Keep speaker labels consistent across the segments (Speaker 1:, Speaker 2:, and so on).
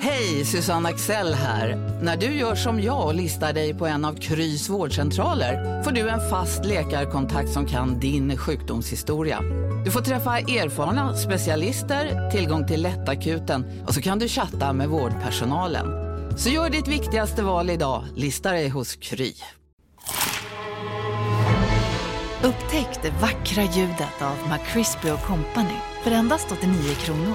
Speaker 1: Hej, Susanne Axel här. När du gör som jag och listar dig på en av Krys vårdcentraler får du en fast läkarkontakt som kan din sjukdomshistoria. Du får träffa erfarna specialister, tillgång till lättakuten och så kan du chatta med vårdpersonalen. Så gör ditt viktigaste val idag, listar dig hos Kry.
Speaker 2: Upptäck det vackra ljudet av McCrispy Company för endast 89 kronor.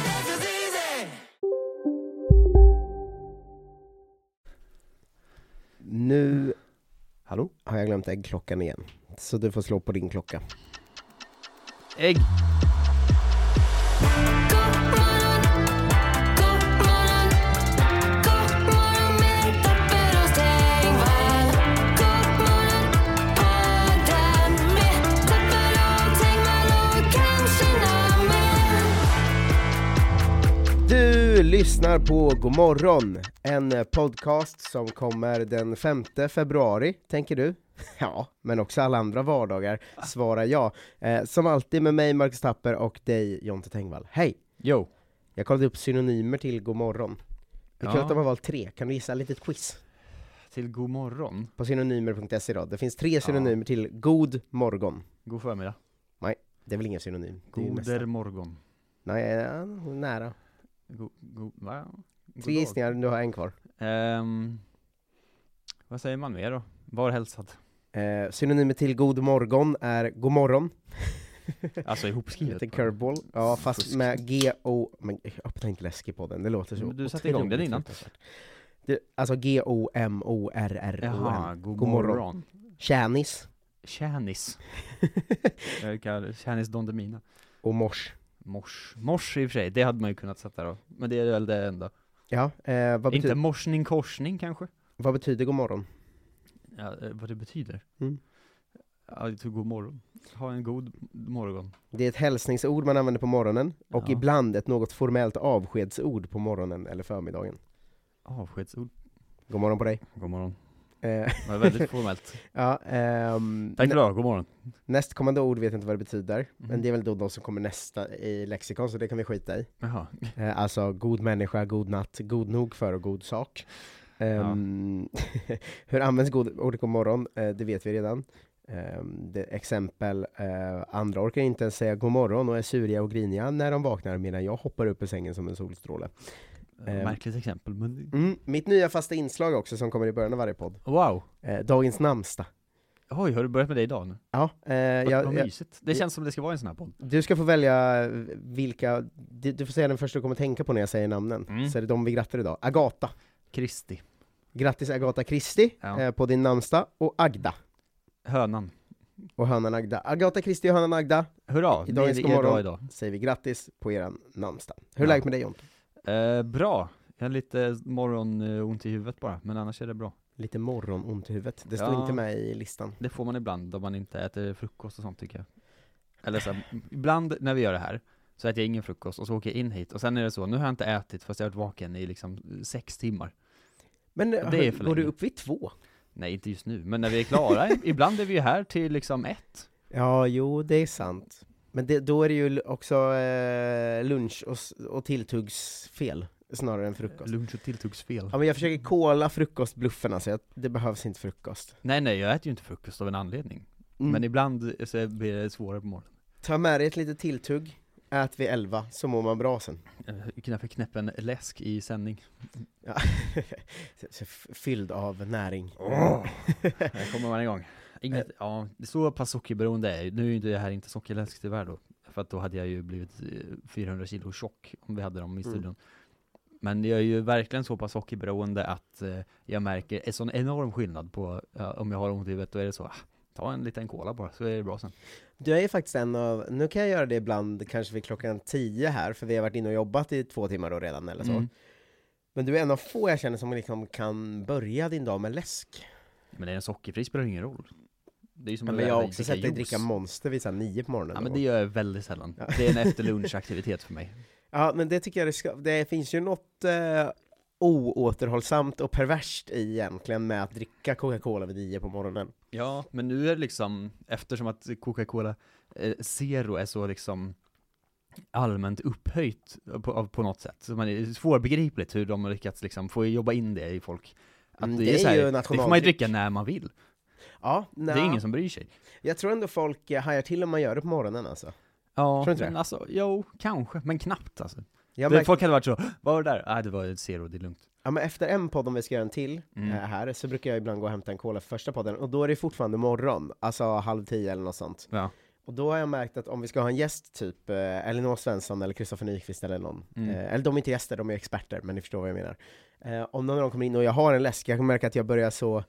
Speaker 3: Nu Hallå? har jag glömt äggklockan igen. Så du får slå på din klocka.
Speaker 4: Ägg.
Speaker 3: Du lyssnar på God morgon, en podcast som kommer den 5 februari, tänker du? Ja, men också alla andra vardagar, svarar jag. Eh, som alltid med mig, Marcus Tapper, och dig, Jonte Tengvall. Hej!
Speaker 4: Jo.
Speaker 3: Jag kollade upp synonymer till God morgon. Det är kul
Speaker 4: Ja.
Speaker 3: att de har valt tre, kan du gissa? Ett litet quiz
Speaker 4: Till god morgon.
Speaker 3: på synonymer.se då. Det finns tre synonymer till God morgon.
Speaker 4: God förmiddag.
Speaker 3: Nej, det är väl ingen synonym? Det är ju
Speaker 4: Goder
Speaker 3: nästan-
Speaker 4: morgon.
Speaker 3: Nej, ja, nära.
Speaker 4: Go, go, va? God
Speaker 3: Tre
Speaker 4: dag.
Speaker 3: gissningar, du har en kvar.
Speaker 4: Ehm, vad säger man mer då? Var hälsad.
Speaker 3: Eh, synonymer till God morgon är God morgon.
Speaker 4: Alltså ihopskrivet.
Speaker 3: Lite curveball. Ja, fast
Speaker 4: Fusk.
Speaker 3: med G-O... Men öppna inte läskig på den, det låter så
Speaker 4: Men du satte igång den
Speaker 3: otroligt
Speaker 4: innan.
Speaker 3: fruktansvärt. Det, alltså G-O-M-O-R-R-O-N.
Speaker 4: Jaha, god,
Speaker 3: God morgon.
Speaker 4: morgon.
Speaker 3: Tjänis
Speaker 4: Tjänis. Jag kallar Tjänis Dondemina.
Speaker 3: och mors.
Speaker 4: Mors. Mors i och för sig, det hade man ju kunnat sätta då. Men det är väl det enda.
Speaker 3: Ja, eh, vad,
Speaker 4: Inte
Speaker 3: betyder,
Speaker 4: morsning korsning kanske?
Speaker 3: vad betyder god morgon?
Speaker 4: Ja, eh, vad det betyder?
Speaker 3: Mm.
Speaker 4: Ja, det är typ god morgon. Ha en god morgon.
Speaker 3: Det är ett hälsningsord man använder på morgonen, och
Speaker 4: Ja.
Speaker 3: ibland ett något formellt avskedsord på morgonen eller förmiddagen.
Speaker 4: Avskedsord.
Speaker 3: God morgon på dig.
Speaker 4: God morgon.
Speaker 3: Eh,
Speaker 4: Det var väldigt formellt.
Speaker 3: ja, ehm,
Speaker 4: Tack för idag, god morgon.
Speaker 3: Nästkommande ord vet jag inte vad det betyder, men
Speaker 4: Mhm.
Speaker 3: det är väl då de som kommer nästa i lexikon, så det kan vi skita i.
Speaker 4: Jaha.
Speaker 3: Eh, alltså, god människa, god natt, god nog för och god sak. Ehm, hur används god, ordet god morgon? Eh, det vet vi redan. Ehm, det, exempel, eh, andra orkar inte ens säga god morgon och är suriga och griniga när de vaknar medan jag hoppar upp ur sängen som en solstråle. Ehm.
Speaker 4: Märkligt exempel, men
Speaker 3: Mm, mitt nya fasta inslag också som kommer i början av varje podd.
Speaker 4: wow.
Speaker 3: Eh, dagens namnsdag.
Speaker 4: Oj, har du börjat med det idag nu?
Speaker 3: Ja, eh,
Speaker 4: Vad,
Speaker 3: jag,
Speaker 4: vad
Speaker 3: jag,
Speaker 4: mysigt. Det känns som det ska vara en sån här podd.
Speaker 3: Du ska få välja eh, vilka, du, du får säga den första du kommer tänka på när jag säger namnen,
Speaker 4: Mm.
Speaker 3: så är det de vi grattar idag. Agata.
Speaker 4: Kristi.
Speaker 3: Grattis Agata Kristi
Speaker 4: Ja.
Speaker 3: eh, på din namnsdag, och Agda.
Speaker 4: Hönan.
Speaker 3: Och hönan Agda. Agata Kristi och hönan Agda
Speaker 4: Hurra,
Speaker 3: I dagens
Speaker 4: det är
Speaker 3: god
Speaker 4: er dag
Speaker 3: morgon.
Speaker 4: idag.
Speaker 3: säger vi grattis på eran namnsdag. Hur är
Speaker 4: Ja.
Speaker 3: läget med dig Jonte?
Speaker 4: Eh, bra. Jag har lite morgonont i huvudet bara, men annars är det bra.
Speaker 3: Lite morgonont i huvudet, det står
Speaker 4: Ja.
Speaker 3: inte med i listan.
Speaker 4: Det får man ibland om man inte äter frukost och sånt tycker jag. Eller så här, ibland när vi gör det här, så äter jag ingen frukost och så åker jag in hit och sen är det så, nu har jag inte ätit fast jag har varit vaken i liksom sex timmar.
Speaker 3: Men eh,
Speaker 4: Det är
Speaker 3: hör-
Speaker 4: för
Speaker 3: går du
Speaker 4: länge.
Speaker 3: upp vid två?
Speaker 4: Nej, inte just nu, men när vi är klara, ibland är vi ju här till liksom ett.
Speaker 3: Ja, jo det är sant. Men det, då är det ju l- också eh, lunch och, s- och tilltuggsfel, snarare än frukost.
Speaker 4: Lunch och tilltugsfel.
Speaker 3: Ja men jag försöker kola frukostbluffen alltså, jag, det behövs inte frukost.
Speaker 4: Nej nej, jag äter ju inte frukost av en anledning.
Speaker 3: Mm.
Speaker 4: Men ibland eh, så blir det svårare på morgonen.
Speaker 3: Ta med dig ett litet tilltugg, ät vid 11 så mår man bra sen.
Speaker 4: Eh, Knappt knäppa en läsk i sändning.
Speaker 3: Ja. Så- så f- Fylld av näring.
Speaker 4: Här kommer man igång. Eh. Inget, ja, så pass sockerberoende är jag. Nu är ju inte det här inte sockerläsk tyvärr då. För att då hade jag ju blivit eh, 400 kilo tjock om vi hade dem i
Speaker 3: Mm.
Speaker 4: studion. Men jag är ju verkligen så pass sockerberoende att eh, jag märker en sån enorm skillnad på ja, om jag har ont i huvudet, då är det så, ah, ta en liten cola bara så är det bra sen.
Speaker 3: Du är ju faktiskt en av, nu kan jag göra det ibland kanske vid klockan 10 här, för vi har varit inne och jobbat i två timmar då redan eller så.
Speaker 4: Mm.
Speaker 3: Men du är en av få jag känner som liksom kan börja din dag med läsk.
Speaker 4: Men är den sockerfri spelar det ingen roll. Det är ju som
Speaker 3: Ja,
Speaker 4: att
Speaker 3: men jag har
Speaker 4: dricka
Speaker 3: också sett dig
Speaker 4: juice.
Speaker 3: dricka Monster vid så här nio på morgonen.
Speaker 4: Ja men
Speaker 3: då.
Speaker 4: det gör jag väldigt sällan.
Speaker 3: Ja.
Speaker 4: Det är en efterlunchaktivitet för mig.
Speaker 3: Ja, men det tycker jag det ska, det finns ju något eh, oåterhållsamt och perverst i egentligen med att dricka Coca-Cola vid nio på morgonen.
Speaker 4: Ja, men nu är det liksom, eftersom att Coca-Cola eh, Zero är så liksom allmänt upphöjt på, av- på något sätt. Så man, det är svårbegripligt hur de har lyckats liksom få jobba in det i folk. Att
Speaker 3: Mm,
Speaker 4: det,
Speaker 3: det
Speaker 4: är
Speaker 3: är
Speaker 4: så här,
Speaker 3: ju
Speaker 4: det får man ju
Speaker 3: nationaldryck.
Speaker 4: dricka när man vill.
Speaker 3: Ja, nej.
Speaker 4: Det är ingen som bryr sig.
Speaker 3: Jag tror ändå folk eh, hajar till om man gör det på morgonen alltså.
Speaker 4: Ja,
Speaker 3: Tror du inte
Speaker 4: men
Speaker 3: det?
Speaker 4: alltså, jo, kanske, men knappt alltså.
Speaker 3: Jag
Speaker 4: det,
Speaker 3: märkte,
Speaker 4: Folk hade varit så, vad var det där? Nej, det var ett Zero, det är lugnt.
Speaker 3: ja, men efter en podd, om vi ska göra en till
Speaker 4: Mm.
Speaker 3: eh, här, så brukar jag ibland gå och hämta en cola för första podden, och då är det fortfarande morgon, alltså halv tio eller något sånt.
Speaker 4: Ja.
Speaker 3: Och då har jag märkt att om vi ska ha en gäst, typ eh, Elinor Svensson eller Kristoffer Nyqvist eller någon,
Speaker 4: Mm.
Speaker 3: eh, eller de är inte gäster, de är experter, men ni förstår vad jag menar. Eh, om någon av dem kommer in och jag har en läsk, jag kommer märka att jag börjar så,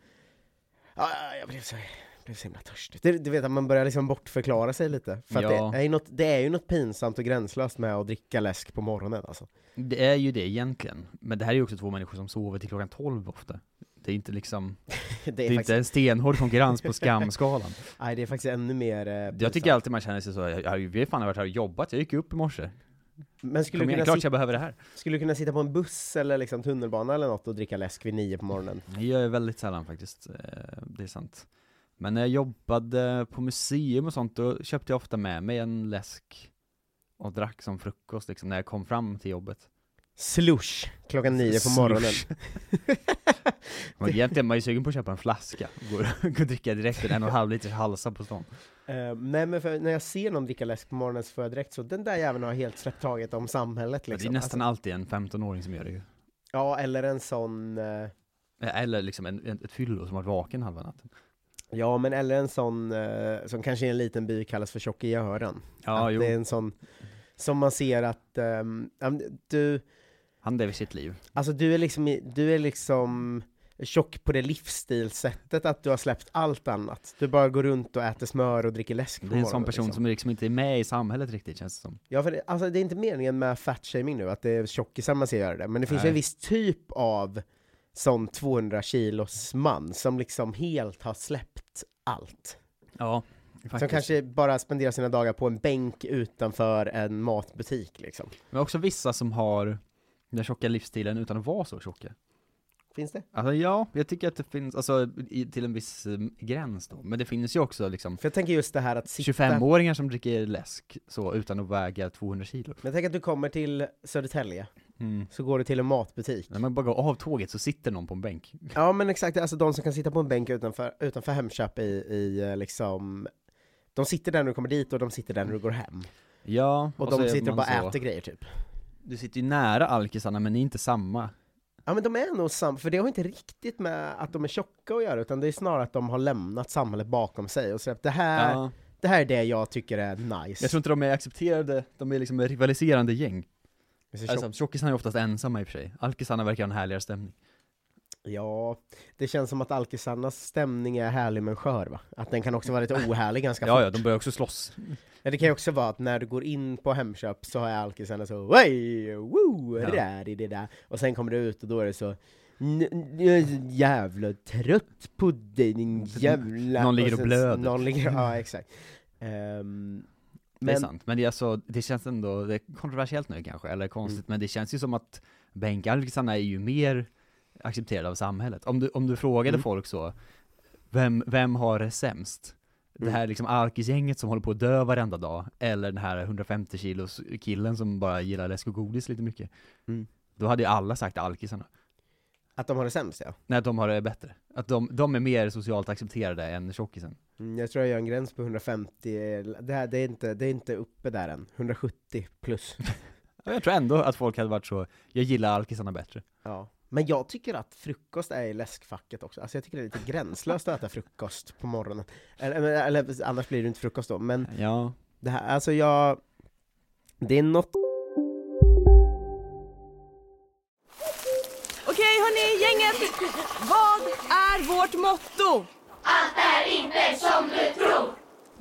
Speaker 3: ah, jag blev så, jag blev så himla törstig. Du, du vet att man börjar liksom bortförklara sig lite, för att
Speaker 4: Ja.
Speaker 3: det, är ju något, det är ju något pinsamt och gränslöst med att dricka läsk på morgonen alltså.
Speaker 4: Det är ju det egentligen, men det här är ju också två människor som sover till klockan 12 ofta. Det är inte liksom,
Speaker 3: Det är,
Speaker 4: det är inte
Speaker 3: faktiskt,
Speaker 4: en stenhård konkurrens på skamskalan.
Speaker 3: nej, det är faktiskt ännu mer eh,
Speaker 4: Jag
Speaker 3: pinsamt.
Speaker 4: tycker alltid man känner sig så, jag, jag, har ju- vi har fan varit här och jobbat, jag gick upp i morse.
Speaker 3: Men skulle
Speaker 4: Kom
Speaker 3: du,
Speaker 4: igen,
Speaker 3: kunna
Speaker 4: klart
Speaker 3: sit,
Speaker 4: jag behöver det här.
Speaker 3: skulle du kunna sitta på en buss eller liksom tunnelbana eller något och dricka läsk vid nio på morgonen?
Speaker 4: Det gör jag väldigt sällan faktiskt, eh, det är sant. Men när jag jobbade på museum och sånt, då köpte jag ofta med mig en läsk och drack som frukost liksom, när jag kom fram till jobbet.
Speaker 3: Slush, klockan nio på morgonen.
Speaker 4: Slush. Men egentligen, man är ju sugen på att köpa en flaska, gå gå och dricka direkt en en och en halv liters halsa på stan.
Speaker 3: Eh, nej men för när jag ser någon dricka läsk på morgonen så får jag direkt så, den där jäveln har helt släppt taget om samhället
Speaker 4: Men
Speaker 3: liksom.
Speaker 4: Det är nästan alltid en 15-åring som gör det ju.
Speaker 3: alltså, ja, eller en sån, eh,
Speaker 4: Eller liksom en, en, ett fyllo som har varit vaken halva natten.
Speaker 3: ja men eller en sån eh, som kanske i en liten by kallas för tjock i öron.
Speaker 4: Ja,
Speaker 3: att
Speaker 4: jo.
Speaker 3: det är en sån, som man ser att, ehm, ja, men du,
Speaker 4: Han lever sitt liv.
Speaker 3: alltså du är liksom, i- du är liksom tjock på det livsstilssättet att du har släppt allt annat. Du bara går runt och äter smör och dricker läsk på
Speaker 4: Det är en sån
Speaker 3: morgonen,
Speaker 4: person
Speaker 3: liksom.
Speaker 4: som liksom inte är med i samhället riktigt känns det som.
Speaker 3: Ja, för det, alltså, det är inte meningen med fatshaming nu, att det är tjockisar man ser göra det, men det finns ju
Speaker 4: Nej.
Speaker 3: en viss typ av sån 200 kilos man som liksom helt har släppt allt.
Speaker 4: Ja,
Speaker 3: Som kanske bara spenderar sina dagar på en bänk utanför en matbutik liksom.
Speaker 4: Men också vissa som har den tjocka livsstilen utan att vara så tjocka.
Speaker 3: Finns det?
Speaker 4: Alltså ja, jag tycker att det finns, alltså i, till en viss eh, gräns då. Men det finns ju också liksom
Speaker 3: För jag tänker just det här att sitta...
Speaker 4: 25-åringar som dricker läsk så utan att väga 200 kilo.
Speaker 3: Men tänk att du kommer till Södertälje,
Speaker 4: Mm.
Speaker 3: så går du till en matbutik.
Speaker 4: När man bara går av tåget så sitter någon på en bänk.
Speaker 3: Ja men exakt, alltså de som kan sitta på en bänk utanför, utanför Hemköp i, i eh, liksom... De sitter där när du kommer dit och de sitter där när du går hem.
Speaker 4: Ja,
Speaker 3: Och,
Speaker 4: så
Speaker 3: de
Speaker 4: är
Speaker 3: sitter och
Speaker 4: man
Speaker 3: bara
Speaker 4: så-
Speaker 3: äter grejer typ.
Speaker 4: Du sitter ju nära alkisarna men ni är inte samma.
Speaker 3: Ja men de är nog samma, för det har inte riktigt med att de är tjocka att göra, utan det är snarare att de har lämnat samhället bakom sig och släppt det här,
Speaker 4: Ja.
Speaker 3: det här är det jag tycker är nice.
Speaker 4: Jag tror inte de är accepterade, de är liksom rivaliserande gäng.
Speaker 3: Det är så
Speaker 4: Alltså, tjockisarna är oftast ensamma i och för sig. Alkisarna verkar ha en härligare stämning.
Speaker 3: tjock- ja, det känns som att alkisarnas stämning är härlig men skör va? Att den kan också vara lite ohärlig ganska
Speaker 4: Ja, ja,
Speaker 3: fort.
Speaker 4: de börjar också slåss.
Speaker 3: Ja, det kan ju också vara att när du går in på Hemköp så har alkisarna så Oj, woo,
Speaker 4: Ja.
Speaker 3: det där, det där. Och sen kommer du ut och då är det så "N- n- jag är så jävla trött på dig din jävla...
Speaker 4: Mm, Någon ligger och
Speaker 3: sen-
Speaker 4: blöder. Mm.
Speaker 3: Någon ligger, ja exakt. Ehm,
Speaker 4: Det är
Speaker 3: men
Speaker 4: sant, men det är alltså, det känns ändå, det är kontroversiellt nu kanske, eller
Speaker 3: Mm.
Speaker 4: konstigt, men det känns ju som att bänkalkisarna är ju mer accepterade av samhället. Om du, om du frågade
Speaker 3: Mm.
Speaker 4: folk så, vem, vem har det sämst? Det
Speaker 3: Mm.
Speaker 4: här liksom alkisgänget som håller på att dö varenda dag, eller den här 150 kilos killen som bara gillar läsk och godis lite mycket.
Speaker 3: Mm.
Speaker 4: Då hade ju alla sagt alkisarna.
Speaker 3: att de har det sämst ja.
Speaker 4: Nej, att de har det bättre. Att de, de är mer socialt accepterade än tjockisen.
Speaker 3: Mm, jag tror jag gör en gräns på 150, det, här, det, är inte, det är inte uppe där än. 170 plus.
Speaker 4: Ja, Jag tror ändå att folk hade varit så, jag gillar alkisarna bättre.
Speaker 3: Ja. Men jag tycker att frukost är i läskfacket också. Alltså jag tycker det är lite gränslöst att äta frukost på morgonen. Eller, eller, eller annars blir det inte frukost då. Men
Speaker 4: Ja.
Speaker 3: det här, alltså jag... Det är något...
Speaker 5: Okej hörni, gänget! Vad är vårt motto?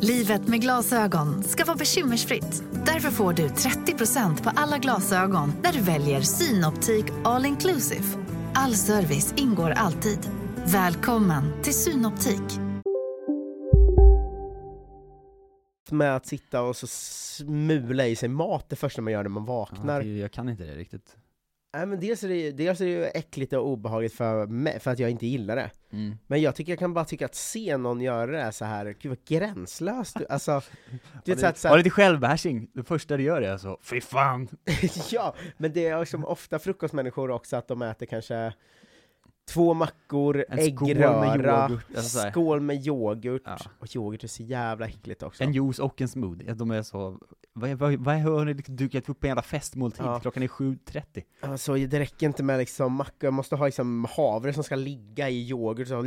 Speaker 2: Livet med glasögon ska vara bekymmersfritt. Därför får du 30% på alla glasögon när du väljer Synoptik All Inclusive. All service ingår alltid. Välkommen till Synoptik.
Speaker 3: Med att sitta och så smula i sig mat det första man gör när man vaknar.
Speaker 4: Ja, typ. det- jag kan inte det riktigt.
Speaker 3: Nej, men dels, är det, dels är det ju äckligt och obehagligt för, mig, för att jag inte gillar det.
Speaker 4: Mm.
Speaker 3: Men jag tycker jag kan bara tycka att se någon göra det här så här, gud vad gränslöst du, alltså, du vet,
Speaker 4: Har,
Speaker 3: så att,
Speaker 4: lite-
Speaker 3: så
Speaker 4: har
Speaker 3: här,
Speaker 4: lite självbehärsning. Det första du gör är alltså, fy fan!
Speaker 3: ja, men det är som ofta frukostmänniskor också att de äter kanske två mackor,
Speaker 4: En skål med
Speaker 3: äggröra,
Speaker 4: yoghurt, alltså så här.
Speaker 3: skål med yoghurt,
Speaker 4: Ja.
Speaker 3: och yoghurt är så jävla äckligt också.
Speaker 4: En juice och en smoothie. De är så, vad, vad, vad har ni liksom dukat upp en jävla festmåltid?
Speaker 3: Ja.
Speaker 4: Klockan är 7.30.
Speaker 3: Alltså, det räcker inte med liksom macka, jag måste ha liksom havre som ska ligga i yoghurt så...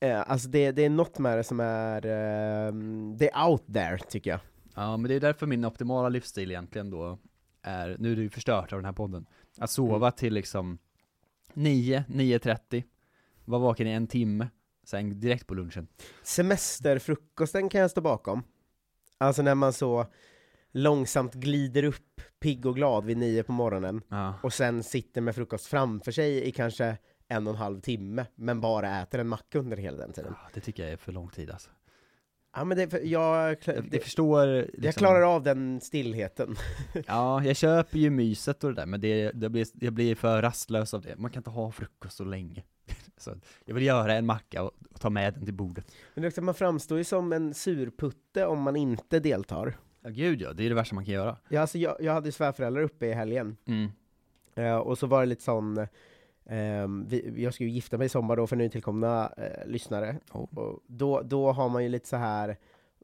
Speaker 3: Eh, Alltså det, det är något med det som är, eh, det är out there tycker jag.
Speaker 4: Ja, men det är därför min optimala livsstil egentligen då är, nu är det ju förstört av den här podden, att sova till liksom 9, 9.30, vara vaken i en timme, sen direkt på lunchen.
Speaker 3: Semesterfrukosten kan jag stå bakom. Alltså när man så långsamt glider upp pigg och glad vid nio på morgonen
Speaker 4: Ja.
Speaker 3: och sen sitter med frukost framför sig i kanske en och en halv timme, men bara äter en macka under hela den tiden.
Speaker 4: Det tycker jag är för lång tid alltså.
Speaker 3: Ja men det, för jag,
Speaker 4: Jag,
Speaker 3: det,
Speaker 4: jag förstår liksom,
Speaker 3: jag klarar av den stillheten.
Speaker 4: Ja, jag köper ju myset och det där, men det, det blir, jag blir för rastlös av det. Man kan inte ha frukost så länge. Så att jag vill göra en macka och, och ta med den till bordet.
Speaker 3: Men det är också, man framstår ju som en surputte om man inte deltar.
Speaker 4: Ja, gud ja, det är det värsta man kan göra.
Speaker 3: Ja, alltså, jag, jag hade ju svärföräldrar uppe i helgen,
Speaker 4: Mm.
Speaker 3: eh, och så var det lite sån, ehm, vi, jag skulle ju gifta mig i sommar då för nytillkomna eh, lyssnare, och då, då har man ju lite så här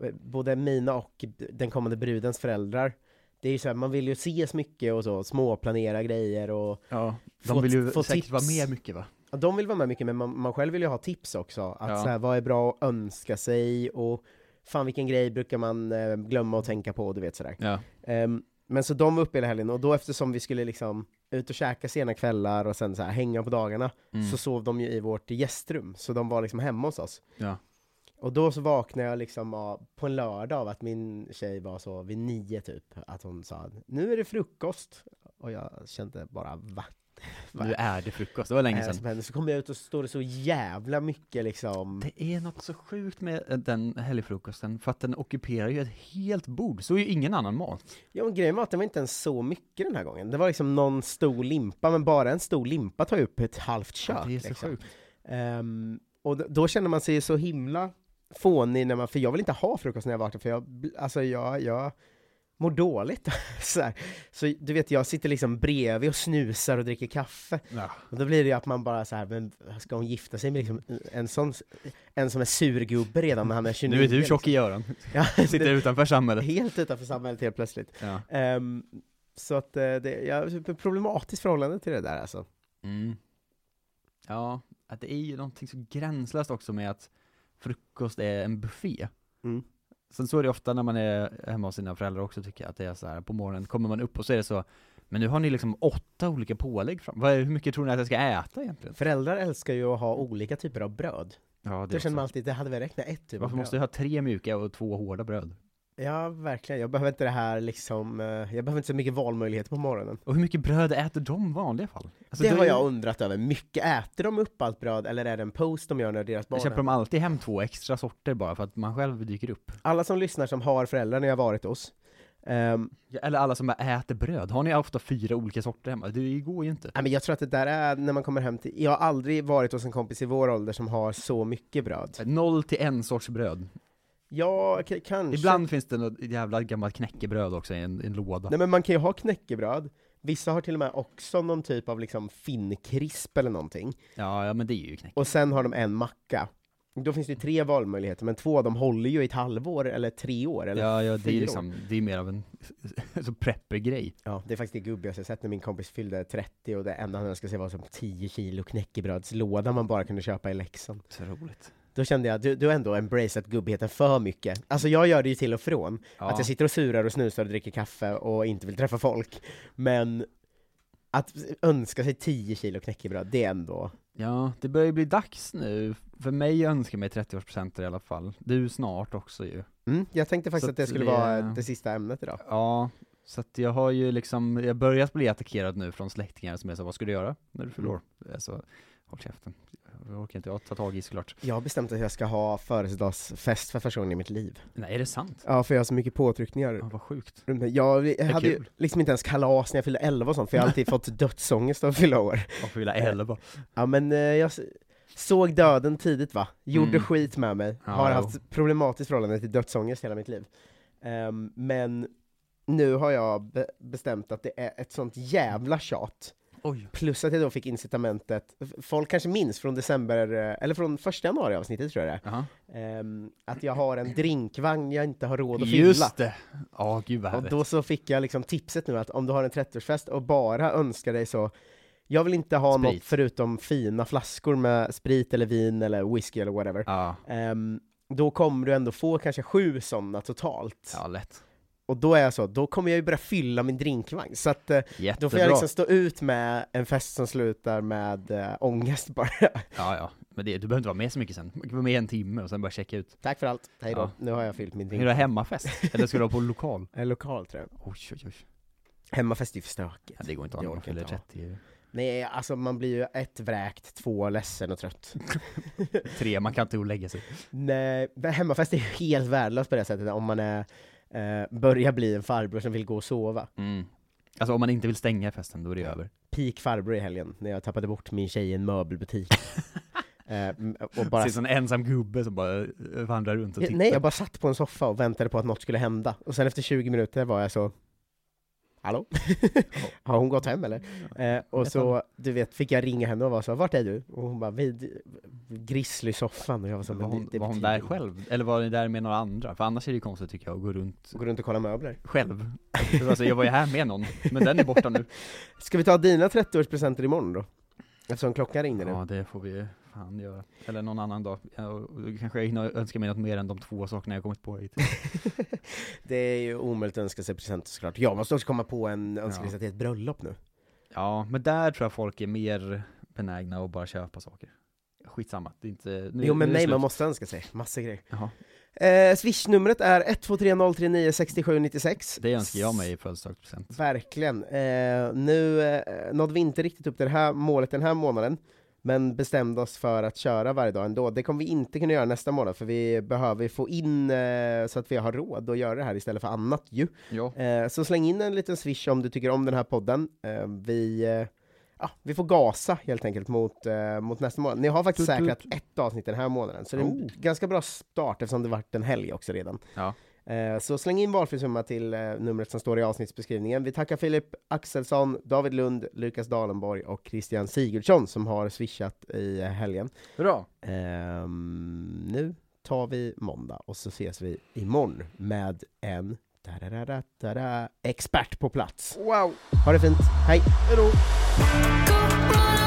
Speaker 3: eh, både mina och d- den kommande brudens föräldrar, det är ju så här, man vill ju ses mycket och så, småplanera grejer och
Speaker 4: Ja, de
Speaker 3: Få-
Speaker 4: vill ju
Speaker 3: få
Speaker 4: säkert
Speaker 3: tips.
Speaker 4: vara med mycket va?
Speaker 3: Ja, De vill vara med mycket, men man, man själv vill ju ha tips också. Att
Speaker 4: Ja.
Speaker 3: så här, vad är bra att önska sig och fan vilken grej brukar man eh, glömma att tänka på, du vet sådär.
Speaker 4: Ja.
Speaker 3: Ehm, men så de var uppe hela helgen och då eftersom vi skulle liksom ut och käka sena kvällar och sen så här, hänga på dagarna,
Speaker 4: Mm.
Speaker 3: så sov de ju i vårt gästrum. Så de var liksom hemma hos oss.
Speaker 4: Ja.
Speaker 3: Och då så vaknade jag liksom av, på en lördag av att min tjej var så vid nio typ, att hon sa nu är det frukost. Och jag kände bara va? Va?
Speaker 4: Nu är det frukost, det var länge
Speaker 3: Eh,
Speaker 4: sedan.
Speaker 3: som hände. Så kom jag ut och så står det så jävla mycket liksom
Speaker 4: alltså, Det är något så sjukt med eh, den helgfrukosten, för att den ockuperar ju ett helt bord, så är ju ingen annan mat.
Speaker 3: Ja men grejen var att det var inte ens så mycket den här gången Det var liksom någon stor limpa, men bara en stor limpa tar ju upp ett halvt kök
Speaker 4: det är så
Speaker 3: liksom.
Speaker 4: sjukt.
Speaker 3: Ehm, Och d- då känner man sig ju så himla fånig när man, för jag vill inte ha frukost när jag vaknar för jag, bl- alltså jag, jag mår dåligt så, här. så du vet jag sitter liksom bredvid och snusar och dricker kaffe
Speaker 4: Ja.
Speaker 3: Och då blir det ju att man bara så här, men ska hon gifta sig med liksom en, sån, en som är surgubbe redan när han är 29?
Speaker 4: Nu är liksom- du tjock i öron,
Speaker 3: Ja,
Speaker 4: sitter
Speaker 3: det-
Speaker 4: utanför samhället.
Speaker 3: Helt utanför samhället helt plötsligt.
Speaker 4: Ja.
Speaker 3: Ehm, så att eh, det, jag har ett problematiskt förhållande till det där alltså.
Speaker 4: Mm. Ja, att det är ju någonting så gränslöst också med att frukost är en buffé.
Speaker 3: Mm.
Speaker 4: Sen så är det ofta när man är hemma hos sina föräldrar också tycker jag, att det är så här på morgonen kommer man upp och så är det så, men nu har ni liksom åtta olika pålägg fram. Vad är, hur mycket tror ni att jag ska äta egentligen?
Speaker 3: Föräldrar älskar ju att ha olika typer av bröd.
Speaker 4: Ja,
Speaker 3: Då känner man alltid, det hade väl räckt med ett typ av
Speaker 4: Varför
Speaker 3: bröd.
Speaker 4: måste jag ha tre mjuka och två hårda bröd?
Speaker 3: Ja, verkligen. Jag behöver inte det här liksom, eh, jag behöver inte så mycket valmöjligheter på morgonen.
Speaker 4: Och hur mycket bröd äter de i vanliga fall? Alltså,
Speaker 3: det
Speaker 4: då Alltså, är
Speaker 3: har
Speaker 4: ju-
Speaker 3: jag undrat över mycket. Äter de upp allt bröd eller är det en post de gör när deras barn
Speaker 4: Jag köper
Speaker 3: är-
Speaker 4: de alltid hem två extra sorter bara för att man själv dyker upp.
Speaker 3: Alla som lyssnar som har föräldrar ni har varit hos, ehm,
Speaker 4: Ja, Eller alla som bara äter bröd. Har ni ofta fyra olika sorter hemma? Det går ju inte.
Speaker 3: Nej, men jag tror att det där är när man kommer hem till, jag har aldrig varit hos en kompis i vår ålder som har så mycket bröd.
Speaker 4: Noll till en sorts bröd.
Speaker 3: Ja, k- kanske.
Speaker 4: Ibland finns det något jävla gammalt knäckebröd också i en, i en låda.
Speaker 3: Nej men man kan ju ha knäckebröd, vissa har till och med också någon typ av liksom finnkrisp eller någonting,
Speaker 4: Ja, ja, men det är ju knäcke.
Speaker 3: och sen har de en macka. Då finns det ju tre valmöjligheter, men två av dem håller ju i ett halvår eller tre år. Eller
Speaker 4: Ja, ja, det är
Speaker 3: fyra
Speaker 4: liksom, det är mer av en så prepper grej.
Speaker 3: Ja, det är faktiskt det gubbigaste jag sett när min kompis fyllde 30 och det enda han önskade sig var som 10 kilo knäckebrödslåda man bara kunde köpa i Leksand.
Speaker 4: Otroligt.
Speaker 3: Då kände jag att du, du har ändå embraceat gubbigheten för mycket. Alltså jag gör det ju till och från.
Speaker 4: Ja.
Speaker 3: Att jag sitter och surar och snusar och dricker kaffe och inte vill träffa folk. Men att önska sig 10 kilo knäckebröd, det är ändå...
Speaker 4: Ja, det börjar ju bli dags nu. För mig önskar mig 30-årspresenter i alla fall. Du snart också ju.
Speaker 3: Mm, jag tänkte faktiskt
Speaker 4: Så
Speaker 3: att det
Speaker 4: att
Speaker 3: skulle
Speaker 4: det-
Speaker 3: vara det sista ämnet idag.
Speaker 4: Ja, så att jag har ju liksom, jag börjat bli attackerad nu från släktingar som är så vad ska du göra när du fyller år? Alltså, håll käften. Det orkar inte jag ta tag i såklart.
Speaker 3: Jag har bestämt att jag ska ha födelsedagsfest för första gången i mitt liv.
Speaker 4: Nej, är det sant?
Speaker 3: Ja, för jag har så mycket påtryckningar
Speaker 4: Ja, vad sjukt.
Speaker 3: runt mig. Jag, jag hade ju
Speaker 4: kul.
Speaker 3: liksom inte ens kalas när jag fyllde 11 och sånt, för jag har alltid fått dödsångest av att fylla år.
Speaker 4: Man får fylla 11.
Speaker 3: Ja men eh, jag s- såg döden tidigt va, gjorde
Speaker 4: Mm.
Speaker 3: skit med mig,
Speaker 4: Ja,
Speaker 3: har
Speaker 4: jo.
Speaker 3: haft problematiskt förhållande till dödsångest hela mitt liv. Ehm, men nu har jag be- bestämt att det är ett sånt jävla tjat,
Speaker 4: Oj.
Speaker 3: plus att jag då fick incitamentet, f- folk kanske minns från december, eh, eller från första januari avsnittet tror jag det
Speaker 4: Jaha.
Speaker 3: är, ehm, att jag har en drinkvagn jag inte har råd att fylla.
Speaker 4: Just det! Ja, gud vad
Speaker 3: Och
Speaker 4: härligt.
Speaker 3: då så fick jag liksom tipset nu att om du har en 30-årsfest och bara önskar dig så, jag vill inte ha
Speaker 4: Sprit.
Speaker 3: något förutom fina flaskor med sprit eller vin eller whisky eller whatever.
Speaker 4: Ja,
Speaker 3: Ehm, då kommer du ändå få kanske sju sådana totalt.
Speaker 4: ja lätt.
Speaker 3: Och då är jag så, då kommer jag ju börja fylla min drinkvagn. Så att eh,
Speaker 4: Jättebra.
Speaker 3: då får jag liksom stå ut med en fest som slutar med eh, ångest bara.
Speaker 4: Ja, ja. Men det, du behöver inte vara med så mycket sen. Du kan vara med i en timme och sen bara checka ut.
Speaker 3: Tack för allt, hej då.
Speaker 4: Ja.
Speaker 3: Nu har jag fyllt min
Speaker 4: Ska du ha
Speaker 3: drinkvagn.
Speaker 4: hemmafest? Eller ska du ha på lokal?
Speaker 3: Eh, Lokal tror jag.
Speaker 4: Oj, oj, oj.
Speaker 3: Hemmafest är ju för stökigt.
Speaker 4: Ja, det går inte att
Speaker 3: Det
Speaker 4: ha när man
Speaker 3: orkar
Speaker 4: fyller
Speaker 3: inte ha.
Speaker 4: 30.
Speaker 3: Nej, alltså man blir ju ett vräkt, två ledsen och trött.
Speaker 4: Tre, man kan inte lägga sig.
Speaker 3: Nej, men hemmafest är ju helt värdelöst på det sättet om man är, eh, börjar bli en farbror som vill gå och sova.
Speaker 4: Mm. Alltså om man inte vill stänga festen, då är det över.
Speaker 3: Peak farbror i helgen, när jag tappade bort min tjej i en möbelbutik. eh, m- och bara,
Speaker 4: Precis en ensam gubbe som bara eh, vandrar runt och tittar.
Speaker 3: nej, jag bara satt på en soffa och väntade på att något skulle hända. Och sen efter 20 minuter var jag så, hallå? Har hon gått hem eller? Eh, och så, du vet, fick jag ringa henne och var så, vart är du? Och hon bara, vid grizzly-soffan. Och jag var så,
Speaker 4: var
Speaker 3: "Men det-
Speaker 4: hon,
Speaker 3: det
Speaker 4: var hon
Speaker 3: betyder
Speaker 4: där
Speaker 3: inget."
Speaker 4: själv? Eller var ni där med några andra? För annars är det ju konstigt tycker jag, att gå runt
Speaker 3: Och gå runt och kolla möbler.
Speaker 4: själv. Alltså, jag var ju här med någon, men den är borta nu.
Speaker 3: Ska vi ta dina 30-årspresenter imorgon då? Eftersom klockan ringde nu.
Speaker 4: Ja, det får vi fan göra. Eller någon annan dag. Ja, och- och då Kanske jag hinner önska mig något mer än de två sakerna jag kommit på hittills.
Speaker 3: Det är ju omöjligt att önska sig presenter såklart. Jag måste också komma på en önskelista till ett bröllop nu.
Speaker 4: Ja, men där tror jag folk är mer benägna att bara köpa saker. Skitsamma, det är inte... Nu,
Speaker 3: jo men
Speaker 4: nu är det
Speaker 3: nej,
Speaker 4: slut.
Speaker 3: man måste önska sig massa grejer.
Speaker 4: Jaha.
Speaker 3: Eh, Swish-numret är 1230396796.
Speaker 4: Det önskar jag mig i födelsedagspresent.
Speaker 3: Verkligen. Eh, nu eh, nådde vi inte riktigt upp till det här målet den här månaden, men bestämde oss för att köra varje dag ändå. Det kommer vi inte kunna göra nästa månad, för vi behöver få in eh, så att vi har råd att göra det här istället för annat ju.
Speaker 4: Ja.
Speaker 3: Eh, Så släng in en liten swish om du tycker om den här podden. Eh, Vi, eh, ja, vi får gasa helt enkelt mot, eh, mot nästa månad. Ni har faktiskt
Speaker 4: Tut, tut.
Speaker 3: säkrat ett avsnitt den här månaden, så det är en
Speaker 4: Oh.
Speaker 3: ganska bra start eftersom det varit en helg också redan.
Speaker 4: Ja.
Speaker 3: Eh, Så släng in valfri summa till eh, numret som står i avsnittsbeskrivningen. Vi tackar Filip Axelsson, David Lund, Lukas Dalenborg och Christian Sigurdsson som har swishat i eh, helgen.
Speaker 4: Bra.
Speaker 3: Ehm, nu tar vi måndag och så ses vi imorgon med en da-da-da-da-da-da expert på plats. Wow! Ha det fint, hej!
Speaker 6: God morgon,